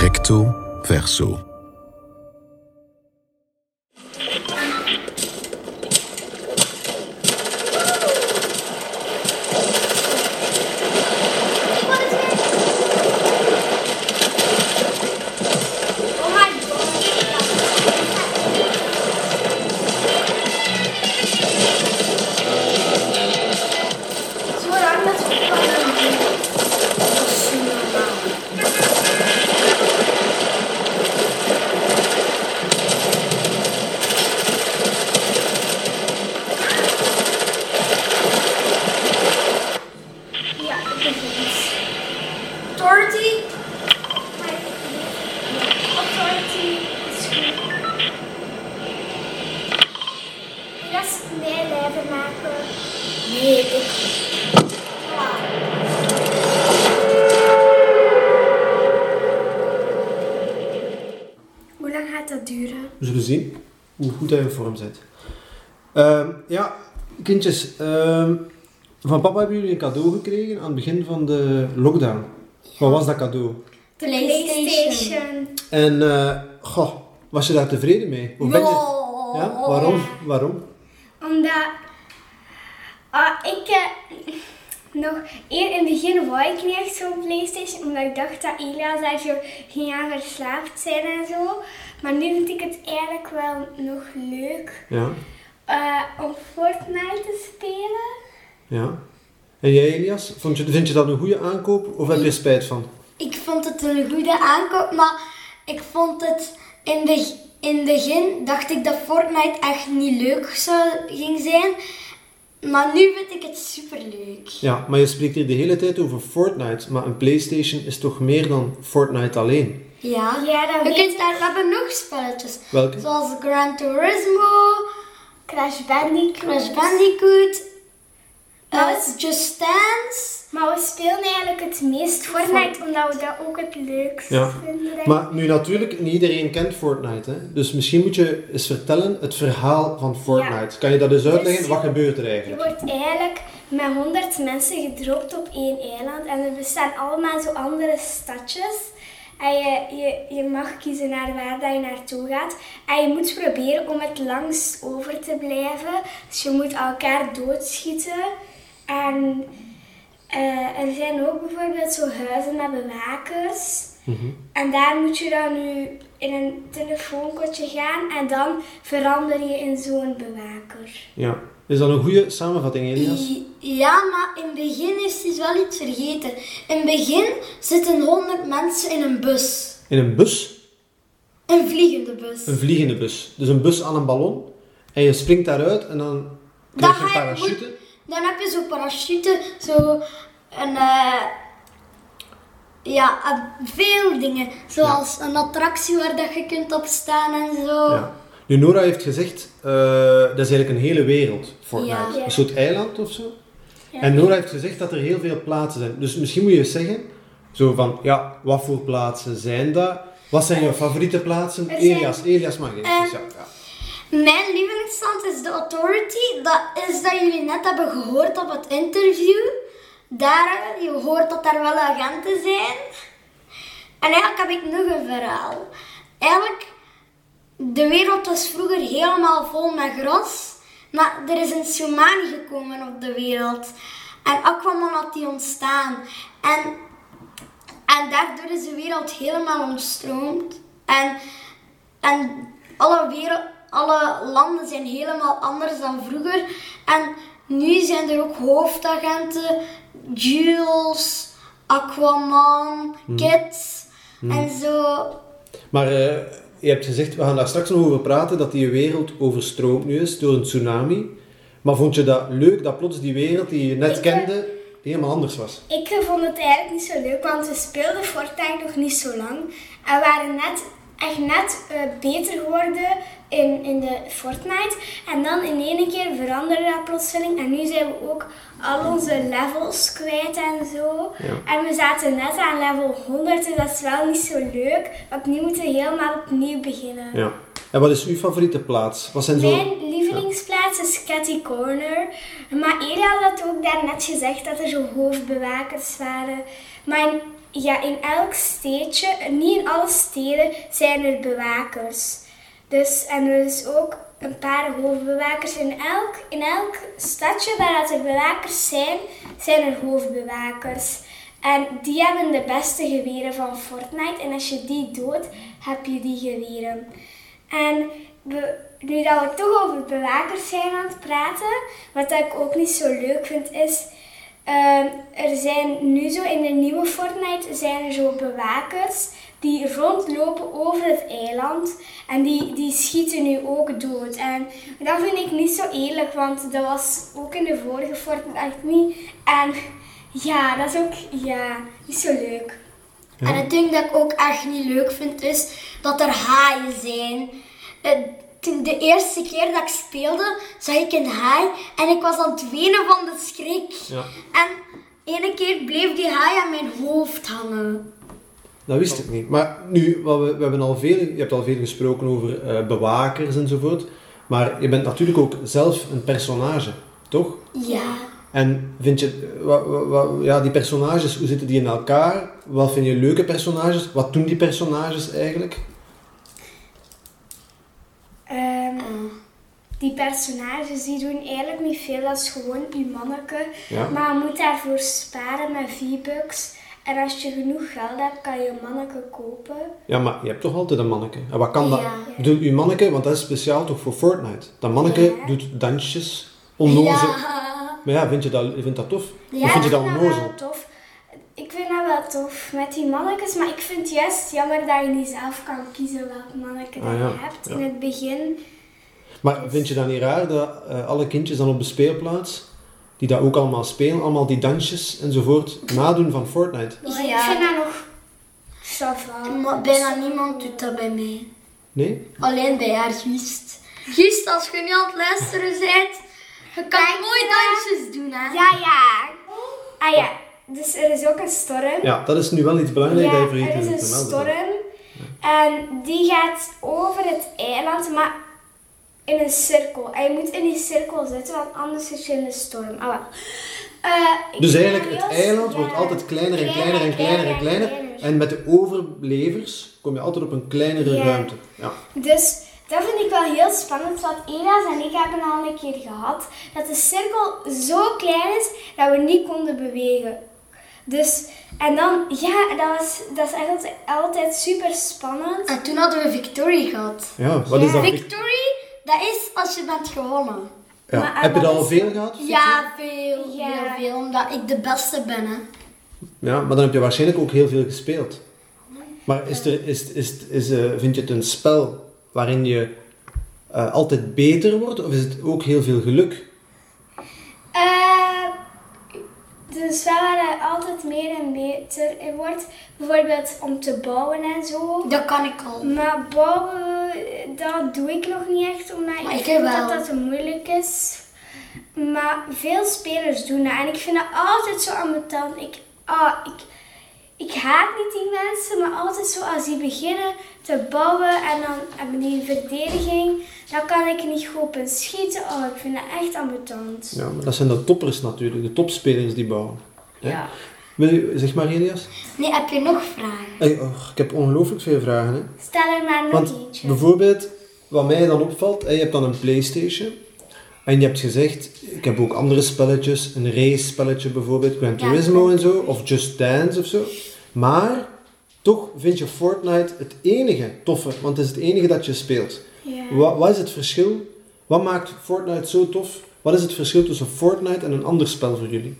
Recto verso. Ja, ik heb nog iets. Authority? Nee, Authority is goed. Rest meer leven maken. Nee, ik. Ja. Hoe lang gaat dat duren? We zullen zien hoe goed hij in vorm zit. Ehm, ja, kindjes. ehm, van papa hebben jullie een cadeau gekregen aan het begin van de lockdown. Wat was dat cadeau? PlayStation. En eh, goh, was je daar tevreden mee? Hoe ben je? Oh. Ja, waarom? Waarom? Omdat ah, ik eh, nog eer in het begin wou ik niet echt zo'n Playstation, omdat ik dacht dat Elias daar zo ging aan verslaafd zijn en zo. Maar nu vind ik het eigenlijk wel nog leuk Ja, eh, om Fortnite te spelen. ja. En jij Elias, Vond je, vind je dat een goede aankoop of heb je er spijt van? Ik vond het een goede aankoop, maar ik vond het in de in het begin dacht ik dat Fortnite echt niet leuk zou ging zijn, maar nu vind ik het superleuk. Ja, maar je spreekt hier de hele tijd over Fortnite, maar een Playstation is toch meer dan Fortnite alleen? Ja. Ja, dat Je weet kunt ik. daar we hebben nog spelletjes, Welke? zoals Gran Turismo, Crash Bandicoot. Crash Bandicoot, eh, Dat is- Just Dance. Maar we spelen eigenlijk het meest Fortnite, omdat we dat ook het leukst Ja. vinden. denk ik. Maar nu natuurlijk, niet iedereen kent Fortnite, hè? dus misschien moet je eens vertellen het verhaal van Fortnite. Kan je dat dus uitleggen? Dus- Wat gebeurt er Je eigenlijk? wordt eigenlijk met honderd mensen gedropt op één eiland en er bestaan allemaal zo andere stadjes. En je, je, je mag kiezen naar waar dat je naartoe gaat. En je moet proberen om het langst over te blijven. Dus je moet elkaar doodschieten. En eh, er zijn ook bijvoorbeeld zo huizen met bewakers. En daar moet je dan nu in een telefoonkotje gaan. En dan verander je in zo'n bewaker. Ja. Is dat een goede samenvatting, Elias? Ja, maar in het begin is hij wel iets vergeten. In het begin zitten 100 mensen in een bus. In een bus, Een vliegende bus. een vliegende bus. Dus een bus aan een ballon. En je springt daaruit en dan krijg je Dan een ga je- moet- parachute. Dan heb je zo'n parachute, zo een. eh, ja, eh, veel dingen. Zoals een attractie waar dat je kunt op staan en zo. Ja. Nu, Nora heeft gezegd, eh, dat is eigenlijk een hele wereld, Fortnite. Ja. Ja. Een soort eiland of zo. En Nora heeft gezegd dat er heel veel plaatsen zijn. Dus misschien moet je eens zeggen, zo van, ja, wat voor plaatsen zijn dat? Wat zijn jouw favoriete plaatsen? Er zijn- Ehm, Elias, Elias mag Eh, eens. ja, ja. Mijn lievelingsstand is de Authority. Dat is dat jullie net hebben gehoord op het interview. Daar, eh, je hoort dat daar wel agenten zijn. En eigenlijk heb ik nog een verhaal. Eigenlijk, de wereld was vroeger helemaal vol met gras. Maar er is een tsunami gekomen op de wereld. En Aquaman had die ontstaan. En, en daardoor is de wereld helemaal ontstroomd. En, en alle, wereld, alle landen zijn helemaal anders dan vroeger. En nu zijn er ook hoofdagenten, Jules, Aquaman, Kids en zo. Maar eh, je hebt gezegd, we gaan daar straks nog over praten, dat die wereld overstroomd nu is door een tsunami. Maar vond je dat leuk, dat plots die wereld die je net Ik, eh, kende, helemaal anders was? Ik eh, vond het eigenlijk niet zo leuk, want we speelden Fortnite nog niet zo lang. En we waren net, echt net eh, beter geworden in, in de Fortnite. En dan in één keer veranderde dat plotseling. En nu zijn we ook al onze levels kwijt en zo. Ja. En we zaten net aan level 100, dus dat is wel niet zo leuk. Want nu moeten we helemaal opnieuw beginnen. Ja. En wat is uw favoriete plaats? Wat zijn zo... Mijn lievelingsplaats is Catty Corner. Maar eerder had dat ook daarnet gezegd dat er zo hoofdbewakers waren. Maar in, ja, in elk steedje, niet in alle steden, zijn er bewakers. Dus, en er is ook een paar hoofdbewakers. In elk, in elk stadje waar dat er bewakers zijn, zijn er hoofdbewakers. En die hebben de beste geweren van Fortnite. En als je die doodt, heb je die geweren. En we- nu dat we toch over bewakers zijn aan het praten, wat dat ik ook niet zo leuk vind, is ehm, er zijn nu zo in de nieuwe Fortnite zijn er zo bewakers die rondlopen over het eiland en die, die schieten nu ook dood. En dat vind ik niet zo eerlijk, want dat was ook in de vorige Fortnite niet. En ja, dat is ook ja, niet zo leuk. En het ding dat ik ook echt niet leuk vind is dus dat er haaien zijn. Eh, Toen de eerste keer dat ik speelde, zag ik een haai en ik was aan het wenen van de schrik. Ja. En ene keer bleef die haai aan mijn hoofd hangen. Dat wist ik niet. Maar nu, wat we, we hebben al veel, je hebt al veel gesproken over eh, bewakers enzovoort. Maar je bent natuurlijk ook zelf een personage, toch? Ja. En vind je, eh, wa- wa- wa- ja, die personages, hoe zitten die in elkaar? Wat vind je leuke personages? Wat doen die personages eigenlijk? Ah. Ehm, Eh, die personages die doen eigenlijk niet veel, dat is gewoon die manneke. Ja. Maar je moet daarvoor sparen met V-bucks. En als je genoeg geld hebt, kan je een manneke kopen. Ja, maar je hebt toch altijd een manneke? En wat kan dat? Ja. Ik bedoel, uw manneke, want dat is speciaal toch voor Fortnite. Dat manneke Ja. doet dansjes, onnozel. Ja. Maar ja, vind je dat, je vindt dat tof? Ja, of vind je dat ik vind onnozel? wel tof. Ik vind dat wel tof met die mannetjes, maar ik vind het juist jammer dat je niet zelf kan kiezen welk manneke dat Ah, ja. je hebt. Ja. In het begin, Maar vind je dat niet raar dat eh, alle kindjes dan op de speelplaats, die dat ook allemaal spelen, allemaal die dansjes enzovoort, nadoen van Fortnite? ik vind dat nog savan. Maar bijna niemand doet dat bij mij. Nee? Alleen bij haar Gust. Gust, als je nu aan het luisteren bent, je kan mooi dansjes doen, hè? Ja, ja. Ah ja, dus er is ook een storm. Ja, dat is nu wel iets belangrijks dat je Ja, vergeten er is een hebt te melden. storm. En die gaat over het eiland, maar in een cirkel. En je moet in die cirkel zitten, want anders zit je in de storm. Ah, wel. Eh, ik Dus ben eigenlijk, het heel- eiland ja, wordt altijd kleiner en kleiner en kleiner en kleiner. En met de overlevers kom je altijd op een kleinere Ja. ruimte. Ja. Dus dat vind ik wel heel spannend, want Era's en ik hebben al een keer gehad dat de cirkel zo klein is dat we niet konden bewegen. Dus, en dan, ja, dat, was, dat is echt altijd, altijd super spannend. En toen hadden we Victory gehad. ja, wat is dat? Victory, dat is als je bent gewonnen. Ja. Maar, eh, Heb je dat wat al is- veel gehad? Ja, veel, Ja. heel veel, omdat ik de beste ben. Hè. Ja, maar dan heb je waarschijnlijk ook heel veel gespeeld. Maar is er, is, is, is, eh, vind je het een spel waarin je eh, altijd beter wordt, of is het ook heel veel geluk? Eh, dus wel waar je altijd meer en beter in wordt. Bijvoorbeeld om te bouwen en zo. Dat kan ik al. Maar bouwen, dat doe ik nog niet echt, omdat Maar ik ik vind wel. dat dat te moeilijk is. Maar veel spelers doen dat. En ik vind dat altijd zo ambetant. Ik, ah, ik, ik haat niet die mensen, maar altijd zo als die beginnen te bouwen en dan hebben die verdediging, dan kan ik niet goed op schieten. Oh, ik vind dat echt ambetant. Ja, maar dat zijn de toppers natuurlijk, de topspelers die bouwen. Hè? Ja. Wil je, zeg maar Elias. Nee, heb je nog vragen? Hey, och, ik heb ongelooflijk veel vragen. Hè? Stel er maar nog Want eentje. bijvoorbeeld, wat mij dan opvalt, hè, je hebt dan een Playstation. En je hebt gezegd, ik heb ook andere spelletjes, een race spelletje bijvoorbeeld, Gran Turismo en zo, of Just Dance of zo. Maar toch vind je Fortnite het enige toffe, want het is het enige dat je speelt. Ja. Wat, wat is het verschil? Wat maakt Fortnite zo tof? Wat is het verschil tussen Fortnite en een ander spel voor jullie?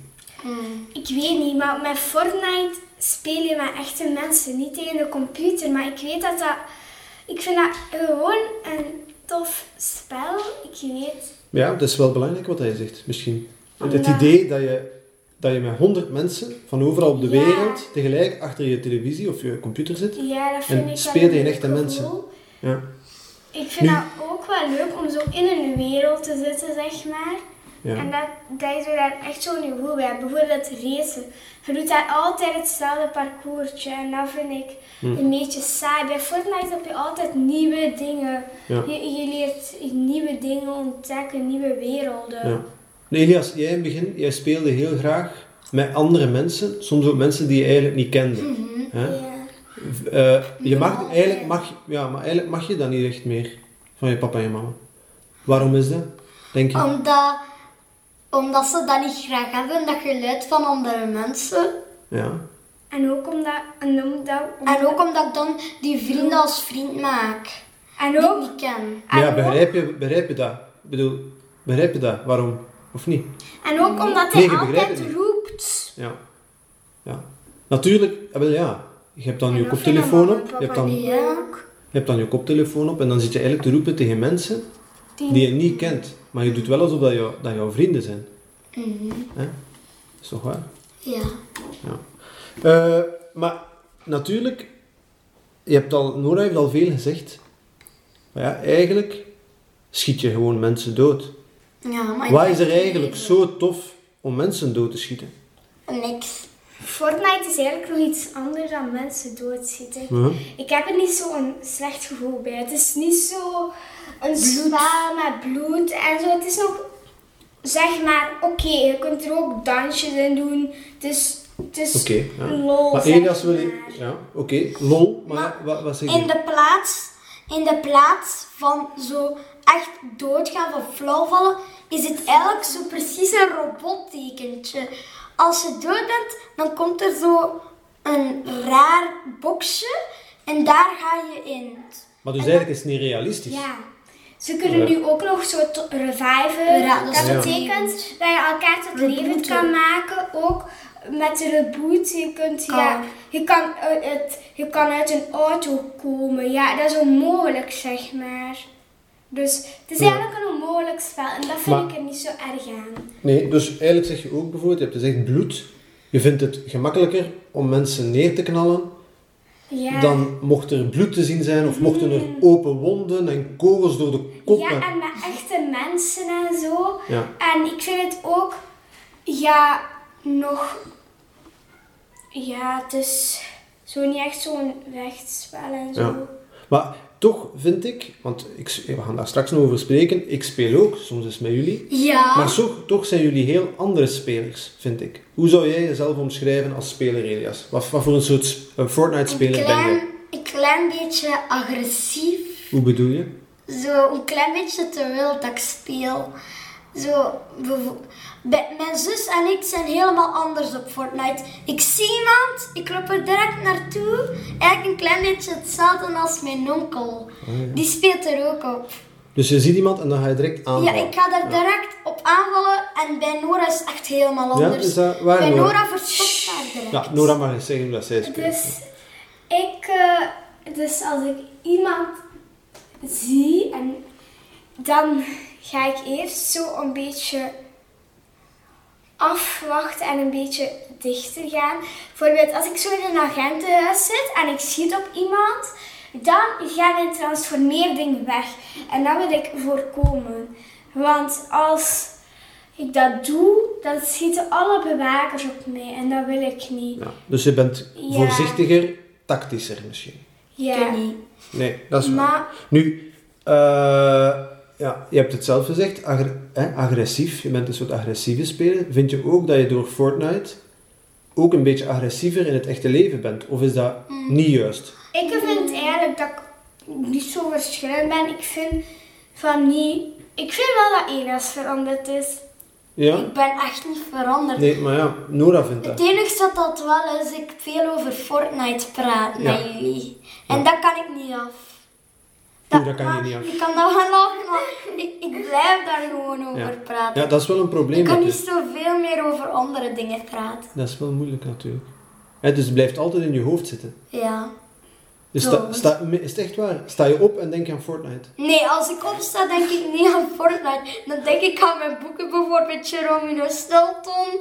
Ik weet niet, maar met Fortnite speel je met echte mensen, niet tegen de computer. Maar ik weet dat dat... Ik vind dat gewoon een tof spel. Ik weet... Ja, dat is wel belangrijk wat hij zegt, misschien. Het, het Ja. idee dat je, dat je met honderd mensen van overal op de Ja. wereld tegelijk achter je televisie of je computer zit. Ja, dat vind En ik speel wel tegen een echte leuk mensen. gevoel. Ja. Ik vind Nu- dat ook wel leuk om zo in een wereld te zitten, zeg maar. Ja. En dat, dat is waar je daar echt zo'n niveau bij hebt. Bijvoorbeeld racen. Je doet daar altijd hetzelfde parcoursje en dat vind ik Hm. een beetje saai. Bij Fortnite heb je altijd nieuwe dingen. Ja. Je, je leert nieuwe dingen ontdekken, nieuwe werelden. Ja. Nee, Elias, jij in het begin, jij speelde heel graag met andere mensen, soms ook mensen die je eigenlijk niet kende. Hè? Mhm. Ja. V- eh, je mag, Normaal, eigenlijk ja. mag, ja, maar eigenlijk mag je dat niet echt meer van je papa en je mama. Waarom is dat? Denk Oh. je? Omdat, omdat ze dat niet graag hebben, dat geluid van andere mensen. Ja. En ook omdat... En omdat, En ook omdat ik dan die vrienden als vriend maak. en Die ik ook... niet ken. En ja, ook- begrijp je, begrijp je dat? Ik bedoel, begrijp je dat? Waarom? Of niet? En ook omdat Nee, hij je begrijpt altijd het niet. roept. Ja. ja. Natuurlijk, eh, wel ja. Je hebt dan En je dat koptelefoon vinden op, mama en je papa hebt dan, niet je leuk. hebt dan je koptelefoon op en dan zit je eigenlijk te roepen tegen mensen die je niet kent. Maar je doet wel alsof dat, jou, dat jouw vrienden zijn. Mhm. Hè? Is toch waar? Ja. Ja. Eh, maar natuurlijk, je hebt al, Nora heeft al veel gezegd. Maar ja, eigenlijk schiet je gewoon mensen dood. ja maar ik Wat is denk er eigenlijk niet. zo tof om mensen dood te schieten? Niks. Fortnite is eigenlijk nog iets anders dan mensen doodschieten. Ja. Ik heb er niet zo'n slecht gevoel bij. Het is niet zo een spa met bloed en zo. Het is nog, zeg maar, oké, je kunt er ook dansjes in doen. Het is, het is Oké. ja. lol, Maar zeg Elias wil... maar. Ja, oké. Lol. Maar, ja, wat, wat zeg je? In de plaats, in de plaats van zo echt doodgaan van flauwvallen, is het eigenlijk zo precies een robottekentje. Als je dood bent, dan komt er zo een raar boxje en daar ga je in. Maar dus eigenlijk is het niet realistisch. Ja. Ze kunnen nu ook nog zo to- reviven. Ja, dat dat is Ja. betekent dat je elkaar tot leven Rebooten. kan maken. Ook met de reboot. Je, kunt, Kan. ja, je, kan, eh, het, je kan uit een auto komen. Ja, dat is onmogelijk, zeg maar. Dus het is Ja. eigenlijk een onmogelijk spel. En dat vind Maar- ik er niet zo erg aan. Nee, dus eigenlijk zeg je ook bijvoorbeeld, je hebt gezegd bloed. Je vindt het gemakkelijker om mensen neer te knallen Ja. Mm. Dan mocht er bloed te zien zijn of mochten er open wonden en kogels door de ja, koppen. en met echte mensen en zo. Ja. En ik vind het ook, ja, nog. Ja, het is zo niet echt zo'n rechtsspel en zo. Ja. Maar toch vind ik, want ik, we gaan daar straks nog over spreken, ik speel ook, soms is het met jullie. Ja. Maar toch, toch zijn jullie heel andere spelers, vind ik. Hoe zou jij jezelf omschrijven als speler, Elias? Wat, wat voor een soort sp- eh, Fortnite-speler ben klein, je? Een klein beetje agressief. Hoe bedoel je? Zo een klein beetje te wild dat ik speel. Zo, bevo- bij- mijn zus en ik zijn helemaal anders op Fortnite. Ik zie iemand, ik loop er direct naartoe. Eigenlijk een klein beetje hetzelfde als mijn onkel. Oh, Die speelt er ook op. Dus je ziet iemand en dan ga je direct Ja, aanvallen. ik ga daar direct op aanvallen. En bij Nora is het echt helemaal Ja, anders. is dat waar, bij Nora? Nora verstopt haar direct. Ja, Nora mag eens zeggen hoe dat zij speelt. Dus ik, eh, dus als ik iemand zie en dan ga ik eerst zo een beetje afwachten en een beetje dichter gaan. Bijvoorbeeld als ik zo in een agentenhuis zit en ik schiet op iemand, dan gaat mijn transformeerding weg. En dat wil ik voorkomen. Want als ik dat doe, dan schieten alle bewakers op mij en dat wil ik niet. Ja, dus je bent Ja. voorzichtiger, tactischer misschien. Ja. Ik weet niet. Nee, dat is waar. Maar- Nu, eh, ja, je hebt het zelf gezegd, agre- hè, agressief. Je bent een soort agressieve speler. Vind je ook dat je door Fortnite ook een beetje agressiever in het echte leven bent? Of is dat Mm. niet juist? Ik vind eigenlijk dat ik niet zo verschillend ben. Ik vind van niet. Ik vind wel dat Elias veranderd is. Ja? Ik ben echt niet veranderd. Nee, maar ja, Nora vindt Het dat. enige wat dat wel is, ik veel over Fortnite praat Ja. met jullie. En dat kan ik niet af. Oeh, dat kan je maar niet af. Ik kan dat wel af, maar ik, ik blijf daar gewoon Ja. over praten. ja, dat is wel een probleem ik kan niet natuurlijk. zoveel meer over andere dingen praten. Dat is wel moeilijk natuurlijk. Hè, dus het blijft altijd in je hoofd zitten. Ja. Is, dat- sta- is het echt waar? Sta je op en denk aan Fortnite? Nee, als ik opsta denk ik niet aan Fortnite. Dan denk ik aan mijn boeken, bijvoorbeeld Jerome Stelton.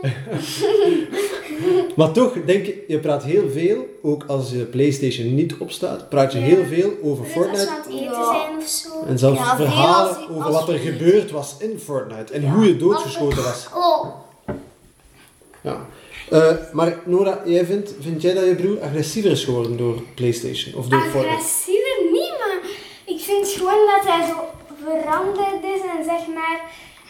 Maar toch, denk je, je praat heel veel, ook als je PlayStation niet opstaat, praat je heel veel over Als we Fortnite. aan het eten Ja. zijn of zo. En zelfs Ja, veel verhalen als- over als- wat er gebeurd was in Fortnite en hoe je doodgeschoten was. Oh, Ja. Eh, maar Nora, jij vindt, vind jij dat je broer agressiever is geworden door PlayStation of door Fortnite? Agressiever niet, maar ik vind gewoon dat hij zo veranderd is en zeg maar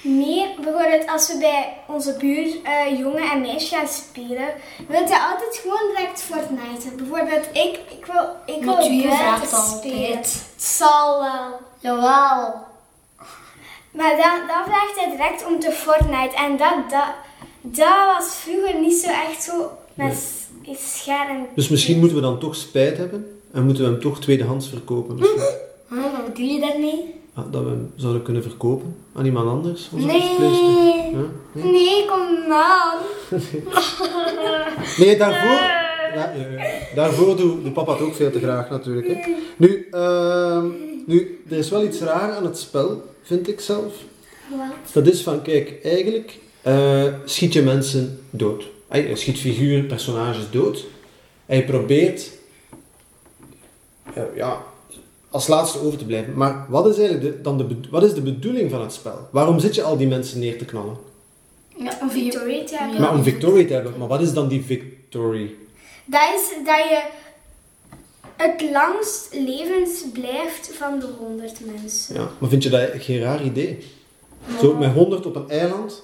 meer. Bijvoorbeeld als we bij onze buur eh, jongen en meisje gaan spelen, wil hij altijd gewoon direct Fortnite. Bijvoorbeeld ik, ik wil, ik wil Mathieu vraagt buiten altijd. spelen. Het zal wel. jawel. Maar dan, dan vraagt hij direct om te Fortnite. En dat, dat, dat was vroeger niet zo echt zo met s- iets scharen. Dus misschien moeten we dan toch spijt hebben en moeten we hem toch tweedehands verkopen. misschien. Huh, Hm, wat bedoel je daarmee? Ah, dat we hem zouden kunnen verkopen aan iemand anders? onze PlayStation. Mm. Nee. Ja? Nee? Nee, kom nou. Nee, daarvoor, Ja, eh, daarvoor doet de papa het ook veel te graag natuurlijk. Hè. Nu, ehm, nu, er is wel iets raar aan het spel, vind ik zelf. Wat? Dat is van, kijk, eigenlijk eh, schiet je mensen dood. Hij je schiet figuren, personages dood. Hij probeert, eh, ja, als laatste over te blijven. Maar wat is eigenlijk de, dan de, bedo- wat is de bedoeling van het spel? Waarom zit je al die mensen neer te knallen? Ja, Om Victoria te hebben. Maar om victory te hebben. Maar wat is dan die victory? Dat is dat je het langst levens blijft van de 100 mensen. Ja, maar vind je dat geen raar idee? Zo met 100 op een eiland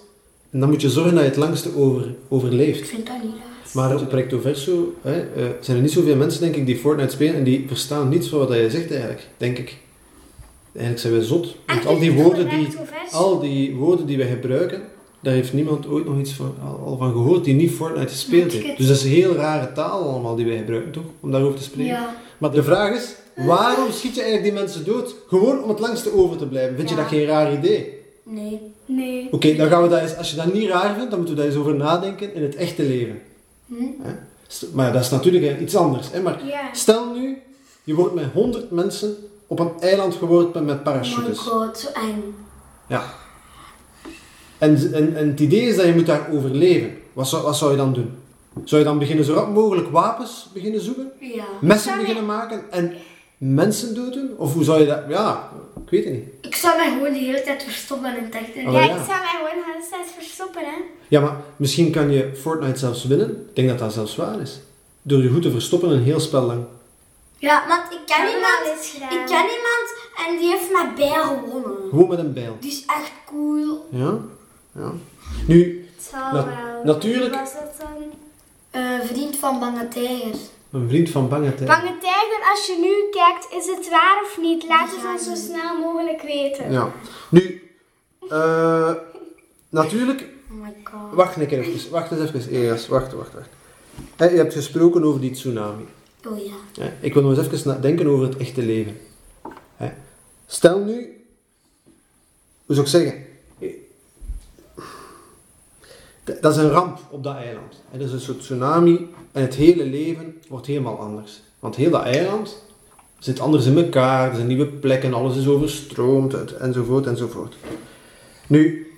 en dan moet je zorgen dat je het langste over, Ik overleeft. vind dat niet raar. Maar op Recto Verso hè, eh, zijn er niet zoveel mensen, denk ik, die Fortnite spelen en die verstaan niets van wat jij zegt eigenlijk, denk ik. Eigenlijk zijn wij zot. Want al die woorden die, al die, woorden die wij gebruiken, daar heeft niemand ooit nog iets van, al, al van gehoord die niet Fortnite gespeeld heeft. Dus dat is een heel rare taal allemaal die wij gebruiken, toch? Om daarover te spreken. Ja. Maar de vraag is, waarom schiet je eigenlijk die mensen dood? Gewoon om het langste over te blijven. Vind je dat geen raar idee? Nee. Nee. Oké, dan gaan we dat eens, als je dat niet raar vindt, dan moeten we daar eens over nadenken in het echte leven. Hè? St- Maar ja, dat is natuurlijk eh, iets anders. Hè? Maar Hm? Ja. stel nu, je wordt met 100 mensen op een eiland geworpen met Oh my parachutes. god, zo eng. Ja. En, z- en, en het idee is dat je moet daar overleven. Wat zou, wat zou je dan doen? Zou je dan beginnen zo rap mogelijk wapens beginnen zoeken? Ja. messen Zou je- beginnen maken en mensen doden? Of hoe zou je dat... Ja, ik weet het niet. Ik zou mij gewoon de hele tijd verstoppen en dachten. Oh, ja, ja. ik zou mij gewoon de hele tijd verstoppen, hè. Ja, maar misschien kan je Fortnite zelfs winnen. Ik denk dat dat zelfs waar is. Door je goed te verstoppen een heel spel lang. Ja, want ik ken Allemaal iemand. is gedaan. Ik ken iemand en die heeft mij bijgewonnen. Gewoon met een bijl. Die is echt cool. Ja? Ja. Nu, Het zal Na- wel. natuurlijk. Wie was dat dan? Eh, vriend van Bange Tijger. een vriend van Bange Tijger. Bange tijger, als je nu kijkt, is het waar of niet? Laat het Ja, ons zo nee. snel mogelijk weten. Ja. Nu, eh, natuurlijk... Oh my god. Wacht een keer even. Wacht eens even, Elias. Wacht, wacht, wacht. Hè, Je hebt gesproken over die tsunami. Oh ja. Hè, Ik wil nog eens even nadenken over het echte leven. Hè, Stel nu, hoe zou ik zeggen, D- dat is een ramp op dat eiland. Hè, Dat is een soort tsunami en het hele leven wordt helemaal anders. Want heel dat eiland zit anders in elkaar, er zijn nieuwe plekken, alles is overstroomd het- enzovoort enzovoort. Nu,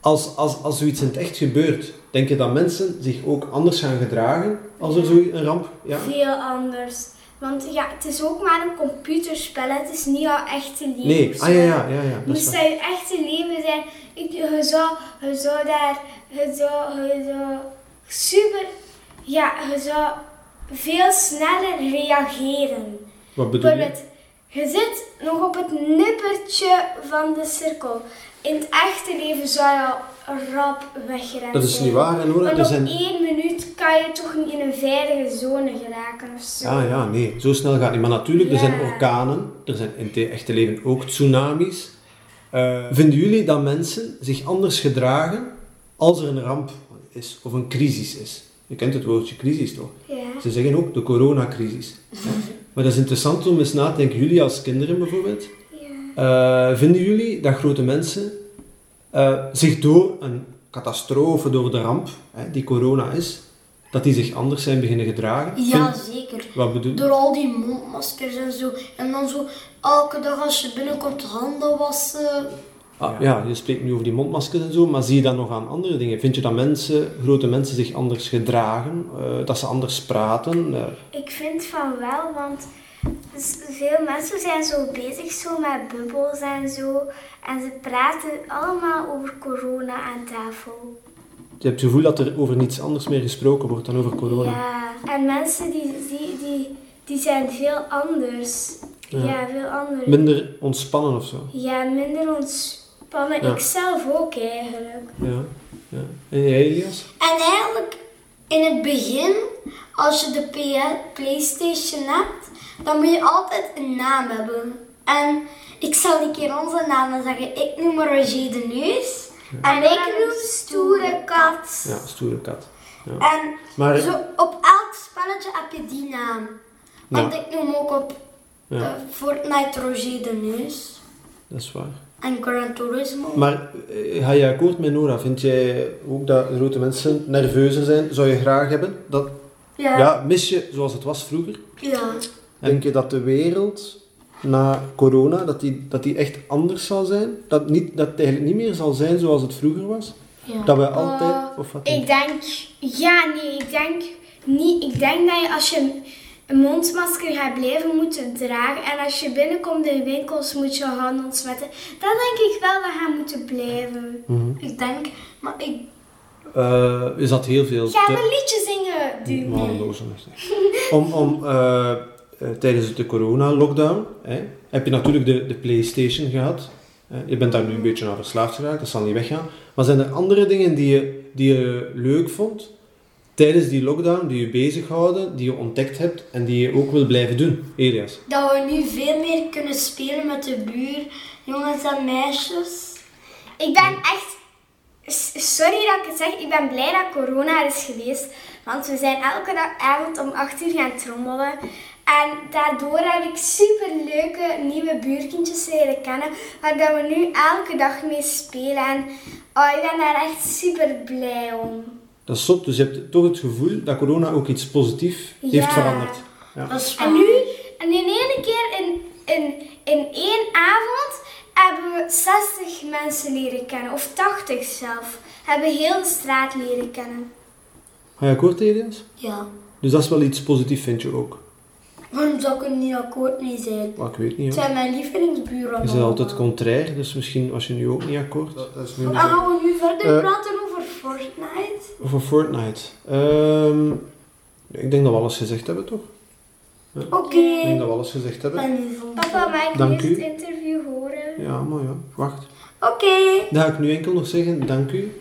als, als, als zoiets in het echt gebeurt, denk je dat mensen zich ook anders gaan gedragen als er zo'n ramp... Ja? Veel anders. Want ja, het is ook maar een computerspel, hè. het is niet jouw echte leven. of Nee, zo, ah ja, hè. ja, ja, ja. Dat is Moest waar. dat je echte leven zijn, ik, je, zou, je zou daar, je zou, je zou super, ja, je zou veel sneller reageren. Wat bedoel je? Bijvoorbeeld, je zit nog op het nippertje van de cirkel. In het echte leven zou je al rap wegrennen. Dat is niet waar, hè, Nora. Want Er op zijn... één minuut kan je toch niet in een veilige zone geraken of zo. Ja, ja, nee. Zo snel gaat het niet. Maar natuurlijk, er zijn Ja. orkanen. Er zijn in het echte leven ook tsunamis. Eh, vinden jullie dat mensen zich anders gedragen als er een ramp is of een crisis is? Je kent het woordje crisis toch? Ja. Ze zeggen ook de coronacrisis. maar dat is interessant om eens na te denken. Jullie als kinderen bijvoorbeeld, Ja. Eh, vinden jullie dat grote mensen eh, zich door een catastrofe, door de ramp hè, die corona is, dat die zich anders zijn beginnen gedragen? Ja, Vind- zeker. Wat bedoel je? Door al die mondmaskers en zo. En dan zo elke dag als je binnenkomt handen wassen. Ah, ja, je spreekt nu over die mondmaskers en zo, maar zie je dat nog aan andere dingen? Vind je dat mensen, grote mensen zich anders gedragen? eh, dat ze anders praten? eh? Ik vind van wel, want s- veel mensen zijn zo bezig zo met bubbels en zo. En ze praten allemaal over corona aan tafel. je hebt het gevoel dat er over niets anders meer gesproken wordt dan over corona. Ja, en mensen die, die, die, die zijn veel anders. Ja, veel anders. Minder ontspannen of zo. ja, minder ontspannen. Ja. Ik zelf ook eigenlijk. Ja. ja. En jij, Elias? En eigenlijk in het begin, als je de P- PlayStation hebt, dan moet je altijd een naam hebben. En ik zal die keer onze namen zeggen. Ik noem Roger de Neus. En ik noem Stoere Kat. Ja, stoere kat. Ja. En Maar- zo op elk spelletje heb je die naam. Want Ja. ik noem ook op Ja. eh, Fortnite Roger de Neus. Dat is waar. En Gran Turismo. Maar eh, ga je akkoord met Nora? Vind jij ook dat grote mensen nerveuzer zijn? Zou je graag hebben? Dat, ja. ja, mis je zoals het was vroeger? Ja. Denk je dat de wereld na corona, dat die, dat die echt anders zal zijn? Dat, niet, dat het eigenlijk niet meer zal zijn zoals het vroeger was? Dat we altijd... of wat Ik denk, ja, nee, ik denk niet. Ik denk dat je als je een mondmasker gaat blijven moeten dragen en als je binnenkomt in winkels moet je je handen ontsmetten, dan denk ik wel dat we gaan moeten blijven. Ik denk, maar ik Mhm. Eh, is dat heel veel? Gaan we te- een liedje zingen, Duur? Maar onnozel is het. Om, om eh, eh, tijdens de corona-lockdown hè, heb je natuurlijk de, de PlayStation gehad. hè. je bent daar nu een beetje aan verslaafd geraakt, dat zal niet weggaan. Maar zijn er andere dingen die je, die je leuk vond tijdens die lockdown, die je bezighouden, die je ontdekt hebt en die je ook wil blijven doen, Elias? dat we nu veel meer kunnen spelen met de buur, jongens en meisjes. Ik ben echt, s- sorry dat ik het zeg, ik ben blij dat corona er is geweest. Want we zijn elke da- avond om 8 uur gaan trommelen. En daardoor heb ik super leuke nieuwe buurkindjes leren kennen. Waar dat we nu elke dag mee spelen. En oh, ik ben daar echt super blij om. Dat is zot, dus je hebt toch het gevoel dat corona ook iets positiefs heeft Ja. veranderd. Ja. Dat is En nu, en in één keer, in, in, in één avond, hebben we 60 mensen leren kennen. Of 80 zelf. Hebben heel de straat leren kennen. Ga je akkoord, Elias? Ja. Dus dat is wel iets positiefs, vind je ook? Waarom zou ik er niet akkoord mee zijn? Maar ik weet niet, Het hoor. zijn mijn lievelingsburen. Je bent altijd allemaal. contrair, dus misschien was je nu ook niet akkoord. Dat is nu En Ah. gaan we nu verder Eh. praten over Fortnite? Over Fortnite. Ehm, ik denk dat we alles gezegd hebben, toch? Oké. Ik denk dat we alles gezegd hebben. Ben nu van- Papa, mag ik Dank nu u. het interview horen? Ja, maar ja. Wacht. Oké. Dan ga ik nu enkel nog zeggen, dank u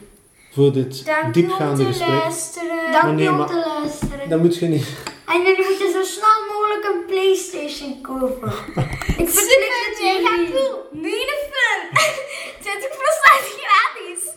voor dit Dank u om diepgaande te gesprek. luisteren. Dank nee, je om maar- te luisteren. Dan moet je niet... En jullie moeten zo snel mogelijk een Playstation kopen. ik vind het Super mega cool. Mega fun. 20% gratis. eh, ah,